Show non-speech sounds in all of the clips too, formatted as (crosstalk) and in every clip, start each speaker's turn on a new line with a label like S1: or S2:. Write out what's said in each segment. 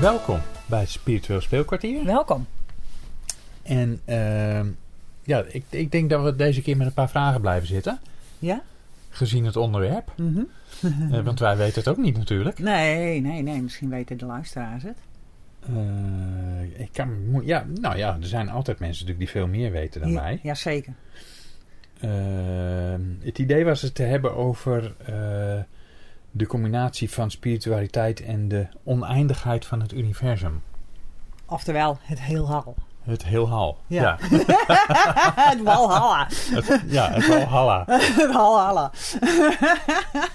S1: Welkom bij het Spiritueel Speelkwartier.
S2: Welkom.
S1: En ehm, ja, ik, ik denk dat we deze keer met een paar vragen blijven zitten.
S2: Ja?
S1: Gezien het onderwerp.
S2: Mhm.
S1: Eh, want wij weten het ook niet natuurlijk.
S2: Nee, nee, nee. Misschien weten de luisteraars het.
S1: Eh, ik kan, mo- ja, nou ja, er zijn altijd mensen natuurlijk die veel meer weten dan
S2: Ja,
S1: wij.
S2: Jazeker.
S1: Ehm, het idee was het te hebben over eh, de combinatie van spiritualiteit en de oneindigheid van het universum.
S2: Oftewel, het heelal.
S1: Het heelhal.
S2: Ja.
S1: Ja,
S2: (laughs) het walhalla.
S1: het, ja, het (laughs) walhalla.
S2: Het walhalla.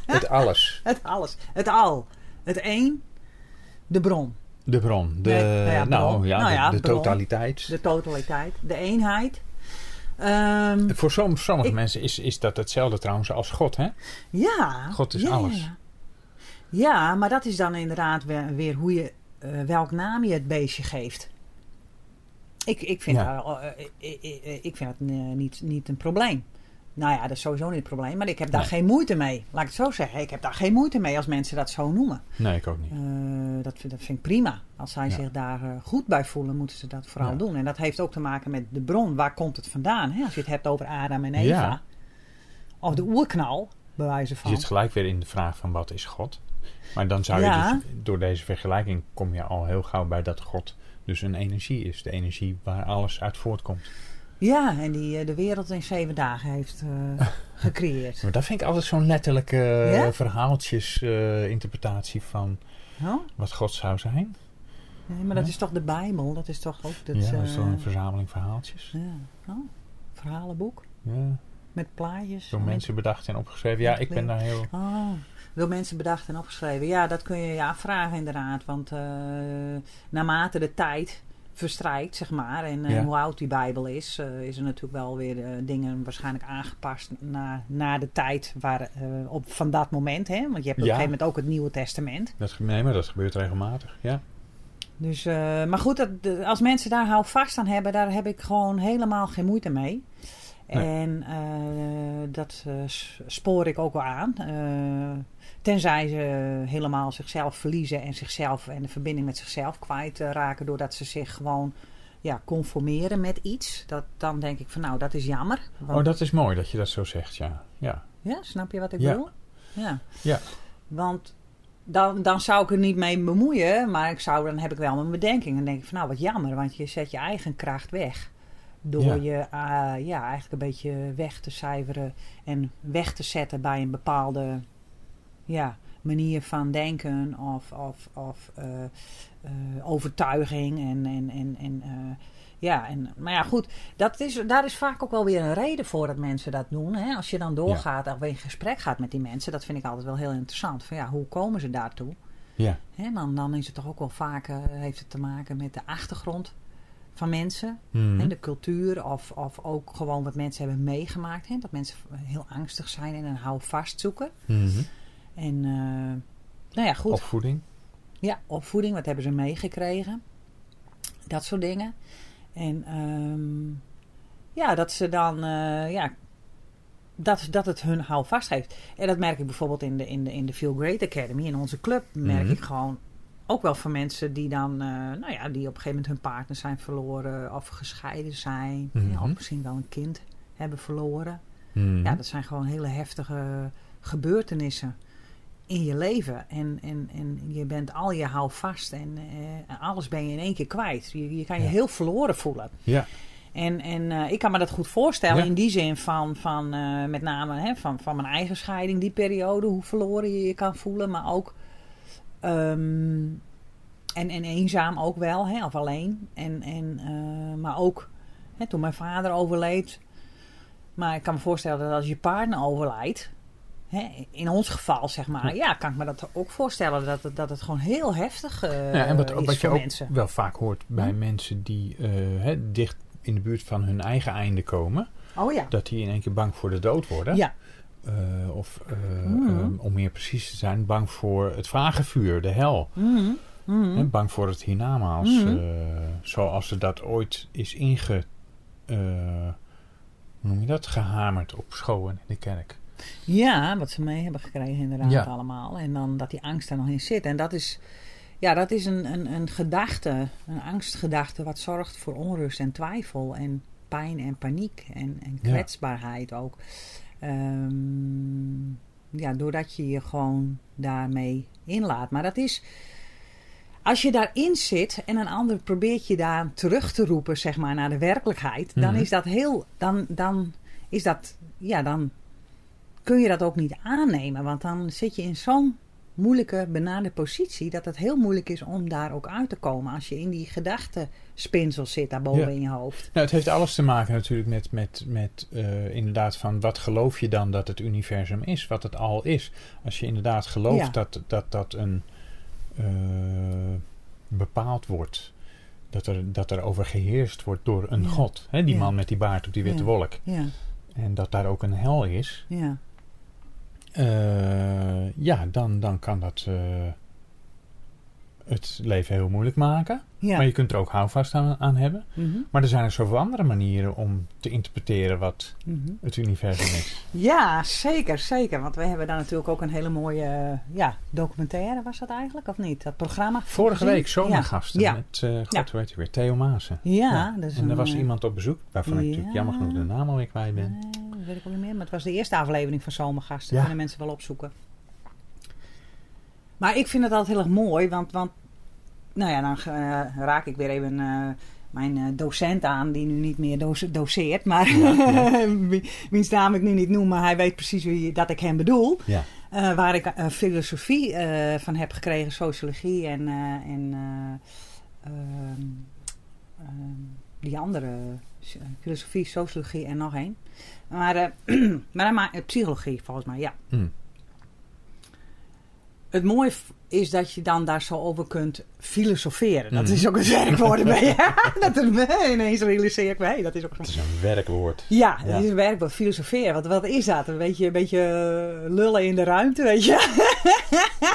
S1: Het alles.
S2: Het alles. Het al. Het één. De bron.
S1: De bron. De,
S2: Nee, nou ja,
S1: nou,
S2: bron.
S1: ja,
S2: Nou ja,
S1: de, de
S2: bron.
S1: totaliteit.
S2: De totaliteit. De eenheid. Ehm,
S1: Voor som- sommige
S2: Ik-
S1: mensen is, is dat hetzelfde trouwens als God, hè?
S2: ja.
S1: God is
S2: Ja, ja,
S1: alles.
S2: Ja, Ja, maar dat is dan inderdaad weer, weer hoe je, eh, welk naam je het beestje geeft. Ik, ik, vind,
S1: Ja.
S2: daar, eh, eh, eh, eh, ik vind dat eh, niet, niet een probleem. Nou ja, dat is sowieso niet een probleem, maar ik heb daar
S1: Nee.
S2: geen moeite mee. Laat ik het zo zeggen. Ik heb daar geen moeite mee als mensen dat zo noemen.
S1: Nee, ik ook niet.
S2: Eh, dat, vind- dat vind ik prima. Als zij
S1: Ja.
S2: zich daar eh, goed bij voelen, moeten ze dat vooral
S1: Ja.
S2: doen. En dat heeft ook te maken met de bron. Waar komt het vandaan? Hè? Als je het hebt over Adam en Eva.
S1: Ja.
S2: Of de oerknal, bij wijze
S1: Je
S2: van.
S1: zit gelijk weer in de vraag van wat is God? Maar dan zou je
S2: Ja.
S1: dus, door deze vergelijking kom je al heel gauw bij dat God dus een energie is. De energie waar alles uit voortkomt.
S2: Ja, en die eh, de wereld in zeven dagen heeft
S1: (laughs)
S2: eh, gecreëerd.
S1: Maar dat vind ik altijd zo'n letterlijke eh,
S2: Ja?
S1: verhaaltjes eh, interpretatie van
S2: Huh?
S1: wat God zou zijn.
S2: Nee, maar dat
S1: Ja.
S2: is toch de Bijbel? Dat is toch ook dat...
S1: ja, dat is
S2: eh,
S1: dan een verzameling verhaaltjes.
S2: ja. Oh, verhalenboek
S1: Ja,
S2: met plaatjes.
S1: door mensen bedacht en opgeschreven. Ja, ik ben daar heel...
S2: Oh, door mensen bedacht en opgeschreven. Ja, dat kun je je afvragen inderdaad. Want eh, naarmate de tijd verstrijkt, zeg maar, en eh,
S1: Ja.
S2: hoe oud die Bijbel is, eh, is er natuurlijk wel weer eh, dingen waarschijnlijk aangepast naar na de tijd waar, eh, op, van dat moment. Hè? Want je hebt op
S1: Ja.
S2: een gegeven moment ook het Nieuwe Testament.
S1: Dat, ge- nee, maar dat gebeurt regelmatig. Ja,
S2: Dus, eh, maar goed, dat, de- als mensen daar houvast aan hebben, daar heb ik gewoon helemaal geen moeite mee.
S1: Nee.
S2: En eh, dat eh, s- spoor ik ook wel aan. Eh, tenzij ze helemaal zichzelf verliezen en zichzelf en de verbinding met zichzelf kwijtraken. Doordat ze zich gewoon ja, conformeren met iets. Dat, dan denk ik van nou, dat is jammer. Want-
S1: oh, dat is mooi dat je dat zo zegt, ja. Ja,
S2: ja, snap je wat ik
S1: Ja.
S2: bedoel? Ja.
S1: Ja.
S2: Want dan, dan zou ik er niet mee bemoeien, maar ik zou, dan heb ik wel mijn bedenking. Dan denk ik van nou, wat jammer, want je zet je eigen kracht weg. Door
S1: Ja.
S2: je eh, ja, eigenlijk een beetje weg te cijferen en weg te zetten bij een bepaalde ja, manier van denken of, of, of eh, eh, overtuiging. En, en, en, en, eh, ja, en, maar ja, goed, dat is, daar is vaak ook wel weer een reden voor dat mensen dat doen. Hè? Als je dan doorgaat of in gesprek gaat met die mensen, dat vind ik altijd wel heel interessant. Van ja, hoe komen ze daartoe?
S1: ja.
S2: Hè? Dan, dan is het toch ook wel vaak, eh, heeft het te maken met de achtergrond van mensen.
S1: Mhm.
S2: Hè, de cultuur of, of ook gewoon wat mensen hebben meegemaakt. Hè? Dat mensen heel angstig zijn en een houvast zoeken.
S1: Mhm.
S2: En eh, nou ja, goed.
S1: Opvoeding.
S2: Ja, opvoeding, wat hebben ze meegekregen? Dat soort dingen. En ehm, ja, dat ze dan, eh, ja, dat, dat het hun houvast heeft. En dat merk ik bijvoorbeeld in de, in de, in de Feel Great Academy, in onze club, merk
S1: Mhm.
S2: ik gewoon ook wel van mensen die dan, eh, nou ja, die op een gegeven moment hun partner zijn verloren of gescheiden zijn.
S1: Mhm.
S2: ja, of misschien wel een kind hebben verloren.
S1: Mhm.
S2: Ja, dat zijn gewoon hele heftige gebeurtenissen in je leven. En, en, en je bent al je houvast en eh, alles ben je in één keer kwijt. Je, je kan je
S1: Ja.
S2: heel verloren voelen.
S1: ja.
S2: En, en eh, ik kan me dat goed voorstellen
S1: Ja.
S2: in die zin van, van eh, met name hè, van, van mijn eigen scheiding, die periode, hoe verloren je je kan voelen, maar ook ehm, en, en eenzaam ook wel, hè, of alleen. En, en, eh, maar ook hè, toen mijn vader overleed. Maar ik kan me voorstellen dat als je partner overlijdt, hè, in ons geval zeg maar,
S1: Hm.
S2: ja, kan ik me dat ook voorstellen dat het, dat het gewoon heel heftig eh
S1: Ja, en wat,
S2: is
S1: wat je
S2: voor
S1: ook
S2: mensen. Mhm.
S1: wel vaak hoort bij mensen die eh, hè, dicht in de buurt van hun eigen einde komen,
S2: Oh ja.
S1: dat die in één keer bang voor de dood worden.
S2: Ja,
S1: Eh, of eh,
S2: Mhm.
S1: eh, om meer precies te zijn, bang voor het vagevuur, de hel.
S2: Mhm. Mhm.
S1: Hè, bang voor het hiernamaals,
S2: Mhm.
S1: eh, zoals ze dat ooit is inge... eh, hoe noem je dat? Gehamerd op school en in de kerk.
S2: Ja, wat ze mee hebben gekregen inderdaad
S1: Ja.
S2: allemaal. En dan dat die angst er nog in zit. En dat is, Ja, dat is een, een, een gedachte, een angstgedachte, wat zorgt voor onrust en twijfel en pijn en paniek en, en
S1: Ja.
S2: kwetsbaarheid ook. Ehm, ja, doordat je je gewoon daarmee inlaat. Maar dat is, als je daarin zit en een ander probeert je daar terug te roepen, zeg maar, naar de werkelijkheid, dan
S1: Mhm.
S2: is dat heel, dan, dan is dat, ja, dan kun je dat ook niet aannemen. Want dan zit je in zo'n moeilijke, benade positie dat het heel moeilijk is om daar ook uit te komen. Als je in die gedachtenspinsel zit daarboven
S1: Ja.
S2: in je hoofd.
S1: Nou, het heeft alles te maken natuurlijk met, met, met eh, inderdaad van wat geloof je dan dat het universum is, wat het al is. Als je inderdaad gelooft
S2: Ja.
S1: dat, dat dat een eh, bepaald wordt, dat er, dat er over geheerst wordt door een
S2: Ja.
S1: god. Hè, die
S2: Ja.
S1: man met die baard op die witte
S2: Ja.
S1: wolk.
S2: Ja,
S1: En dat daar ook een hel is.
S2: ja.
S1: Eh, ja, dan, dan kan dat eh, het leven heel moeilijk maken.
S2: Ja.
S1: Maar je kunt er ook houvast aan, aan hebben.
S2: Mhm,
S1: Maar er zijn er zoveel andere manieren om te interpreteren wat
S2: mhm.
S1: het universum is.
S2: ja, zeker, zeker. Want we hebben daar natuurlijk ook een hele mooie eh, ja, documentaire, was dat eigenlijk, of niet? Dat programma.
S1: Vorige week
S2: Ja.
S1: zomergasten
S2: Ja.
S1: met, eh god,
S2: Ja.
S1: hoe heet hij weer, Theo Maassen.
S2: Ja,
S1: Ja,
S2: dat is
S1: en er
S2: een,
S1: was
S2: eh,
S1: iemand op bezoek, waarvan ik natuurlijk
S2: ja.
S1: jammer genoeg de naam alweer kwijt ben.
S2: Nee, dat weet ik ook niet meer. Maar het was de eerste aflevering van Zomergasten.
S1: Ja.
S2: Kunnen mensen wel opzoeken. Maar ik vind het altijd heel erg mooi. Want, want nou ja, dan eh, raak ik weer even eh, mijn eh, docent aan. Die nu niet meer doce- doceert. Maar (laughs) wie- wiens naam ik nu niet noem. Maar hij weet precies wie, dat ik hem bedoel.
S1: Ja.
S2: Eh, waar ik eh, filosofie eh, van heb gekregen. Sociologie en... eh, en eh, ehm, ehm, die andere eh, filosofie, sociologie en nog één. Maar, eh, (clears throat) maar, hij ma- eh, psychologie volgens mij, ja.
S1: Mm.
S2: Het mooie f- is dat je dan daar zo over kunt filosoferen. Dat
S1: Mhm.
S2: is ook een werkwoord bij
S1: (laughs)
S2: je. (laughs) dat er, ineens realiseer ik me, hey, dat is ook zo.
S1: Het is een werkwoord.
S2: Ja, dat
S1: Ja.
S2: is een werkwoord, filosoferen. Wat, wat is dat? Een beetje, een beetje eh, lullen in de ruimte, weet je. (laughs)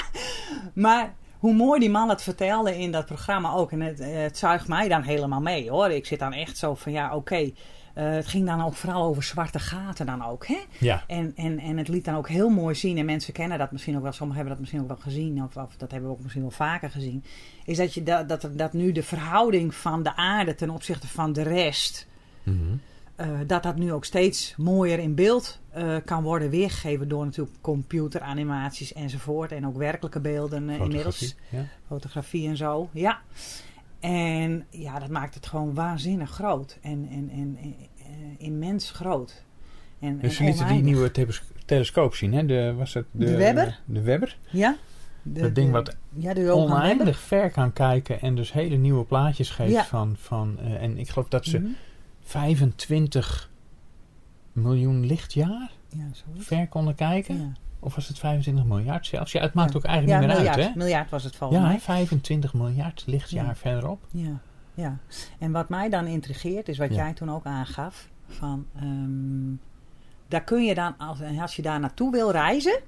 S2: maar hoe mooi die man het vertelde in dat programma ook. En het, eh, het zuigt mij dan helemaal mee, hoor. Ik zit dan echt zo van, ja, oké. Eh, het ging dan ook vooral over zwarte gaten dan ook, hè?
S1: Ja,
S2: En, en, en het liet dan ook heel mooi zien, en mensen kennen dat misschien ook wel, sommigen hebben dat misschien ook wel gezien, of, of dat hebben we ook misschien wel vaker gezien, is dat, je dat, dat, dat nu de verhouding van de aarde ten opzichte van de rest,
S1: Mhm.
S2: eh, dat dat nu ook steeds mooier in beeld eh, kan worden weergegeven door natuurlijk computeranimaties enzovoort, en ook werkelijke beelden eh, inmiddels,
S1: fotografie. Ja.
S2: fotografie en zo, ja. En ja, dat maakt het gewoon waanzinnig groot en, en, en, en, eh, immens groot. En,
S1: Dus ze
S2: en
S1: lieten die
S2: oneindig.
S1: nieuwe tebes- telescoop zien, hè? De, was het
S2: De Webber?
S1: De Webber.
S2: Ja? De-
S1: Dat ding
S2: de-
S1: wat
S2: ja, de Johan Webber.
S1: oneindig ver kan kijken en dus hele nieuwe plaatjes geeft
S2: Ja.
S1: van, van eh, en ik geloof dat ze
S2: Mhm.
S1: 25 miljoen lichtjaar
S2: Ja, zoiets.
S1: ver konden kijken.
S2: Ja.
S1: Of was het 25 miljard zelfs? Ja, het maakt
S2: Ja.
S1: ook eigenlijk
S2: Ja,
S1: niet meer
S2: miljard,
S1: uit, hè?
S2: miljard was het volgens
S1: Ja, hè,
S2: mij.
S1: 25 miljard lichtjaar
S2: Ja.
S1: verderop.
S2: Ja, ja. En wat mij dan intrigeert is wat
S1: Ja.
S2: jij toen ook aangaf. Van, ehm, daar kun je dan, als, als je daar naartoe wil reizen,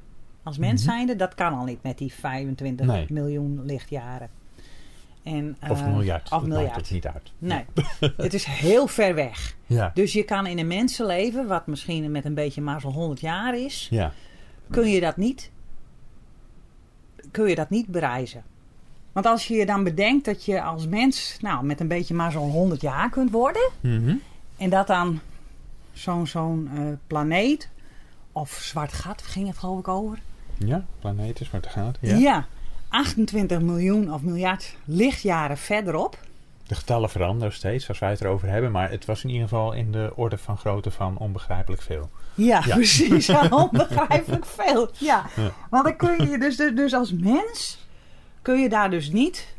S2: als mens
S1: Mhm.
S2: zijnde, dat kan al niet met die 25
S1: Nee.
S2: miljoen lichtjaren. En,
S1: Of
S2: eh,
S1: miljard.
S2: Of
S1: dat maakt
S2: miljard.
S1: het niet uit.
S2: Nee,
S1: (laughs)
S2: het is heel ver weg.
S1: Ja.
S2: Dus je kan in een mensenleven, wat misschien met een beetje maar zo'n 100 jaar is,
S1: Ja.
S2: kun je dat niet, kun je dat niet bereizen. Want als je je dan bedenkt dat je als mens nou, met een beetje maar zo'n 100 jaar kunt worden.
S1: Mhm.
S2: En dat dan zo'n zo'n eh, planeet of zwart gat ging het geloof ik over.
S1: ja, planeten, zwarte gaten.
S2: Ja.
S1: Ja.
S2: 28 miljoen of miljard lichtjaren verderop.
S1: De getallen veranderen steeds als wij het erover hebben, maar het was in ieder geval in de orde van grootte van onbegrijpelijk veel.
S2: Ja,
S1: Ja. (laughs)
S2: precies. Onbegrijpelijk veel. Ja.
S1: Ja.
S2: Want dan kun je dus, dus, dus als mens kun je daar dus niet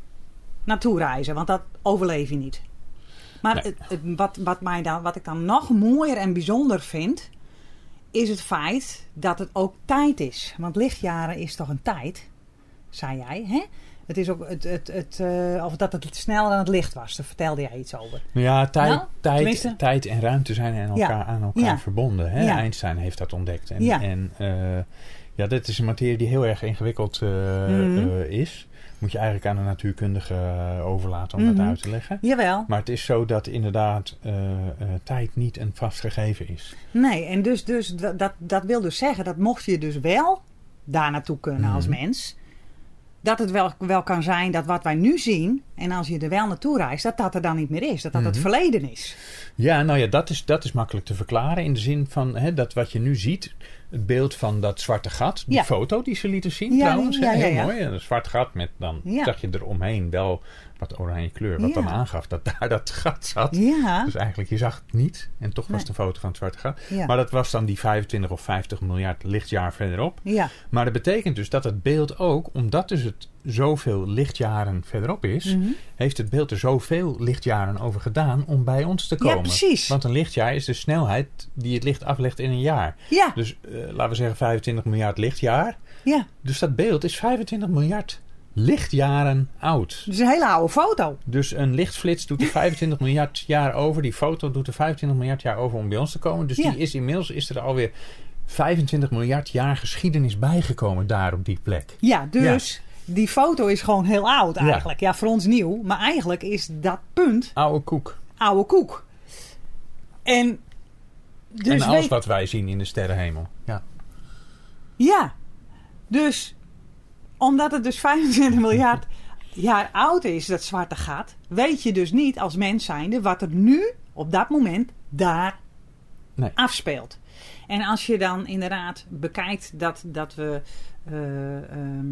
S2: naartoe reizen. Want dat overleef je niet. Maar
S1: Nee.
S2: het, het- wat, wat, mij dan, wat ik dan nog mooier en bijzonder vind... is het feit dat het ook tijd is. Want lichtjaren is toch een tijd, zei jij, hè? Het is ook het, het, het, eh, of dat het sneller dan het licht was. Daar vertelde jij iets over.
S1: Nou Ja, tijd,
S2: Nou, tenminste-
S1: tijd, tijd en ruimte zijn aan
S2: Ja.
S1: elkaar, aan elkaar
S2: Ja.
S1: verbonden. Hè?
S2: Ja.
S1: Einstein heeft dat ontdekt. En,
S2: Ja.
S1: en eh, ja, dit is een materie die heel erg ingewikkeld eh,
S2: Mhm.
S1: eh, is. Moet je eigenlijk aan een natuurkundige eh, overlaten om
S2: Mhm.
S1: dat uit te leggen.
S2: Jawel.
S1: Maar het is zo dat inderdaad eh, eh, tijd niet een vast gegeven is.
S2: Nee, en dus, dus dat, dat wil dus zeggen dat mocht je dus wel daar naartoe kunnen als
S1: Mhm.
S2: mens, dat het wel, wel kan zijn dat wat wij nu zien, en als je er wel naartoe reist, dat dat er dan niet meer is. Dat dat het
S1: Mhm.
S2: verleden is.
S1: Ja, nou ja, dat is, dat is makkelijk te verklaren. In de zin van hè, dat wat je nu ziet, het beeld van dat zwarte gat. Die
S2: Ja.
S1: foto die ze lieten zien
S2: Ja,
S1: trouwens. hè,
S2: ja, ja,
S1: heel
S2: ja.
S1: mooi. Een zwart gat met dan
S2: Ja.
S1: zag je eromheen wel wat oranje kleur. Wat
S2: Ja.
S1: dan aangaf dat daar dat gat zat.
S2: Ja,
S1: Dus eigenlijk, je zag het niet. En toch was
S2: Nee.
S1: het een foto van het zwarte gat.
S2: ja.
S1: Maar dat was dan die 25 of 50 miljard lichtjaar verderop.
S2: ja.
S1: Maar dat betekent dus dat het beeld ook, omdat dus het zoveel lichtjaren verderop is,
S2: Mhm.
S1: heeft het beeld er zoveel lichtjaren over gedaan om bij ons te komen.
S2: ja precies.
S1: Want een lichtjaar is de snelheid die het licht aflegt in een jaar.
S2: Ja,
S1: Dus eh, laten we zeggen 25 miljard lichtjaar.
S2: ja.
S1: Dus dat beeld is 25 miljard lichtjaren oud.
S2: Het is een hele oude foto.
S1: Dus een lichtflits
S2: (laughs)
S1: doet er 25 miljard jaar over. Die foto doet er 25 miljard jaar over om bij ons te komen. Dus
S2: Ja.
S1: die is inmiddels is er alweer 25 miljard jaar geschiedenis bijgekomen daar op die plek.
S2: Ja, dus die foto is gewoon heel oud
S1: Ja.
S2: eigenlijk. Ja. voor ons nieuw. Maar eigenlijk is dat punt
S1: Oude koek.
S2: oude koek. En dus
S1: en alles
S2: weet-
S1: wat wij zien in de sterrenhemel. Ja.
S2: Ja, dus omdat het dus 25 miljard jaar oud is, dat zwarte gat, weet je dus niet als mens zijnde wat er nu op dat moment daar
S1: Nee.
S2: afspeelt. En als je dan inderdaad bekijkt dat, dat we. eh, ehm,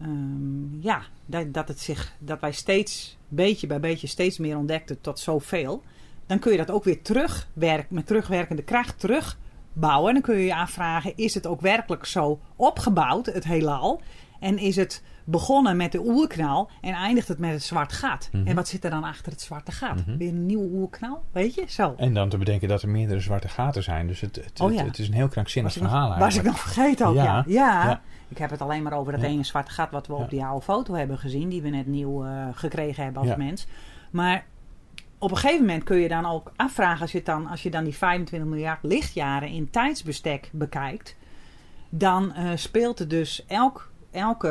S2: ehm, ja, dat, dat, het zich, dat wij steeds, beetje bij beetje, steeds meer ontdekten tot zoveel. Dan kun je dat ook weer terugwerken, met terugwerkende kracht terugbouwen. En dan kun je je afvragen: is het ook werkelijk zo opgebouwd, het heelal? En is het begonnen met de oerknal en eindigt het met het zwart gat?
S1: Mhm.
S2: En wat zit er dan achter het zwarte gat?
S1: Mhm.
S2: Weer een nieuwe oerknal, weet je? Zo.
S1: En dan te bedenken dat er meerdere zwarte gaten zijn. Dus het, het,
S2: Oh
S1: het-
S2: ja.
S1: het is een heel krankzinnig
S2: Was ik nog-
S1: verhaal
S2: Was ik
S1: eigenlijk.
S2: nog vergeten ook, ja.
S1: Ja.
S2: Ja.
S1: Ja.
S2: Ik heb het alleen maar over dat
S1: Ja.
S2: ene zwarte gat wat we
S1: Ja.
S2: op die oude foto hebben gezien. Die we net nieuw eh, gekregen hebben als
S1: Ja.
S2: mens. Maar op een gegeven moment kun je dan ook afvragen... als je, het dan, als je dan die 25 miljard lichtjaren in tijdsbestek bekijkt... dan eh, speelt er dus elk... Elke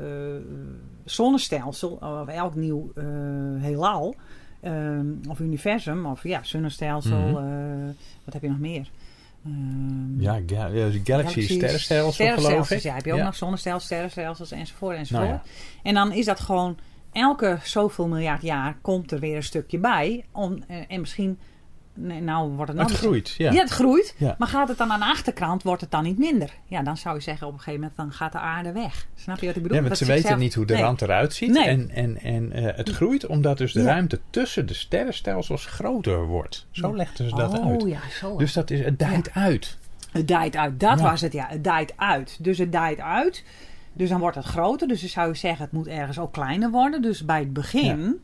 S2: eh, zonnestelsel, of elk nieuw eh, heelal, eh, of universum, of ja, zonnestelsel,
S1: Mhm.
S2: eh, wat heb je nog meer? Ehm,
S1: Ja, ga- eh, Galaxy, sterrenstelsel geloof ik.
S2: Ja, heb je ook nog zonnestelsels, sterrenstelsels enzovoort enzovoort.
S1: Nou ja.
S2: En dan is dat gewoon elke zoveel miljard jaar komt er weer een stukje bij. Om, eh, en misschien, nee, nou wordt het nog
S1: Het
S2: eens-
S1: groeit, ja.
S2: Ja. het groeit.
S1: Ja.
S2: Maar gaat het dan aan de achterkant, wordt het dan niet minder? Ja, dan zou je zeggen op een gegeven moment, dan gaat de aarde weg. Snap je wat ik bedoel?
S1: Ja, want
S2: Dat
S1: ze
S2: zichzelf-
S1: weten niet hoe de
S2: Nee.
S1: rand eruit ziet.
S2: Nee.
S1: En, en, en eh, het groeit omdat dus de
S2: Ja.
S1: ruimte tussen de sterrenstelsels groter wordt. Zo
S2: Ja.
S1: legden ze dat
S2: oh,
S1: uit.
S2: ja, zo.
S1: Dus dat is, het daait uit.
S2: Het daait uit. Dat
S1: Ja.
S2: was het, ja. Het daait uit. Dus het daait uit. Dus dan wordt het groter. Dus dan zou je zeggen, het moet ergens ook kleiner worden. Dus bij het begin,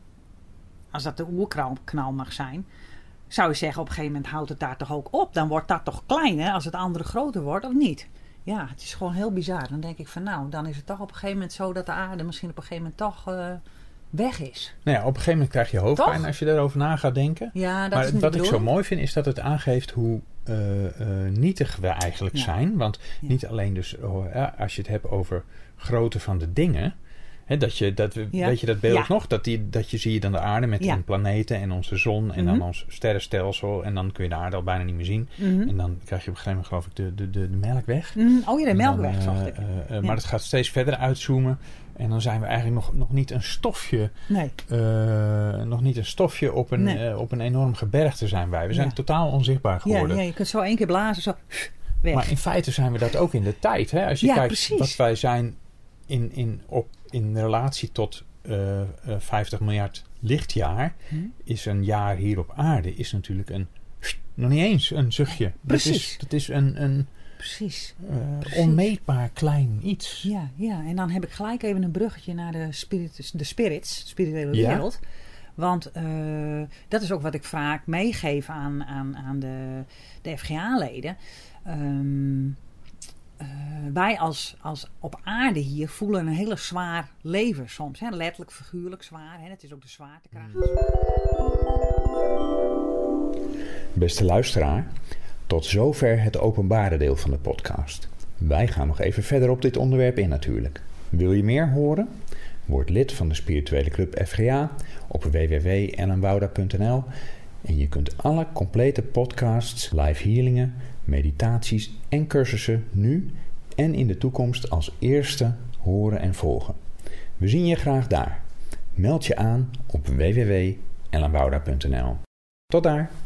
S2: als dat de oerknal mag zijn... zou je zeggen, op een gegeven moment houdt het daar toch ook op. Dan wordt dat toch kleiner als het andere groter wordt, of niet? Ja, het is gewoon heel bizar. Dan denk ik van, nou, dan is het toch op een gegeven moment zo... dat de aarde misschien op een gegeven moment toch eh, weg is.
S1: Nou ja, op een gegeven moment krijg je hoofdpijn
S2: Toch?
S1: als je daarover na gaat denken.
S2: Ja, dat
S1: maar
S2: is niet
S1: wat
S2: de
S1: ik zo
S2: bedoeling.
S1: mooi vind is dat het aangeeft hoe eh, eh, nietig we eigenlijk
S2: Ja.
S1: zijn. Want
S2: Ja.
S1: niet alleen dus oh, ja, als je het hebt over grootte van de dingen. Hè, dat je, dat, we-
S2: Ja.
S1: Weet je dat beeld
S2: Ja.
S1: nog? Dat, die, dat je zie je dan de aarde met
S2: Ja.
S1: de planeten en onze zon en dan
S2: Mhm.
S1: ons sterrenstelsel. En dan kun je de aarde al bijna niet meer zien.
S2: Mhm.
S1: En dan krijg je op een gegeven moment geloof ik de, de, de, de melkweg.
S2: Mm, oh ja, de
S1: En dan,
S2: melkweg,
S1: eh,
S2: zocht ik.
S1: eh, eh,
S2: Ja.
S1: Maar het gaat steeds verder uitzoomen. En dan zijn we eigenlijk nog, nog niet een stofje
S2: Nee.
S1: eh, nog niet een stofje op een,
S2: Nee.
S1: eh, op een enorm gebergte zijn wij. We zijn
S2: Ja.
S1: totaal onzichtbaar
S2: Ja,
S1: geworden.
S2: ja, je kunt zo één keer blazen, zo weg.
S1: maar in feite zijn we dat ook in de tijd. Hè? Als je
S2: Ja,
S1: kijkt
S2: precies.
S1: wat wij zijn in, in, op, in relatie tot eh, eh, 50 miljard lichtjaar,
S2: Hm.
S1: is een jaar hier op aarde is natuurlijk een. Nog niet eens een zuchtje. Dat is,
S2: precies.
S1: dat is een, een
S2: Precies.
S1: eh,
S2: Precies.
S1: onmeetbaar klein iets.
S2: Ja, ja, en dan heb ik gelijk even een bruggetje naar de, spiritus, de spirits, de spirituele
S1: Ja.
S2: wereld. Want eh, dat is ook wat ik vaak meegeef aan, aan, aan de, de FGA-leden. Ehm, eh, wij als, als op aarde hier voelen een hele zwaar leven soms. Hè? Letterlijk, figuurlijk zwaar. Hè? Het is ook de zwaartekracht.
S1: Beste luisteraar, tot zover het openbare deel van de podcast. Wij gaan nog even verder op dit onderwerp in natuurlijk. Wil je meer horen? Word lid van de spirituele club FGA op www.ellenwouda.nl en je kunt alle complete podcasts, live healingen, meditaties en cursussen nu en in de toekomst als eerste horen en volgen. We zien je graag daar. Meld je aan op www.ellenbouda.nl. Tot daar!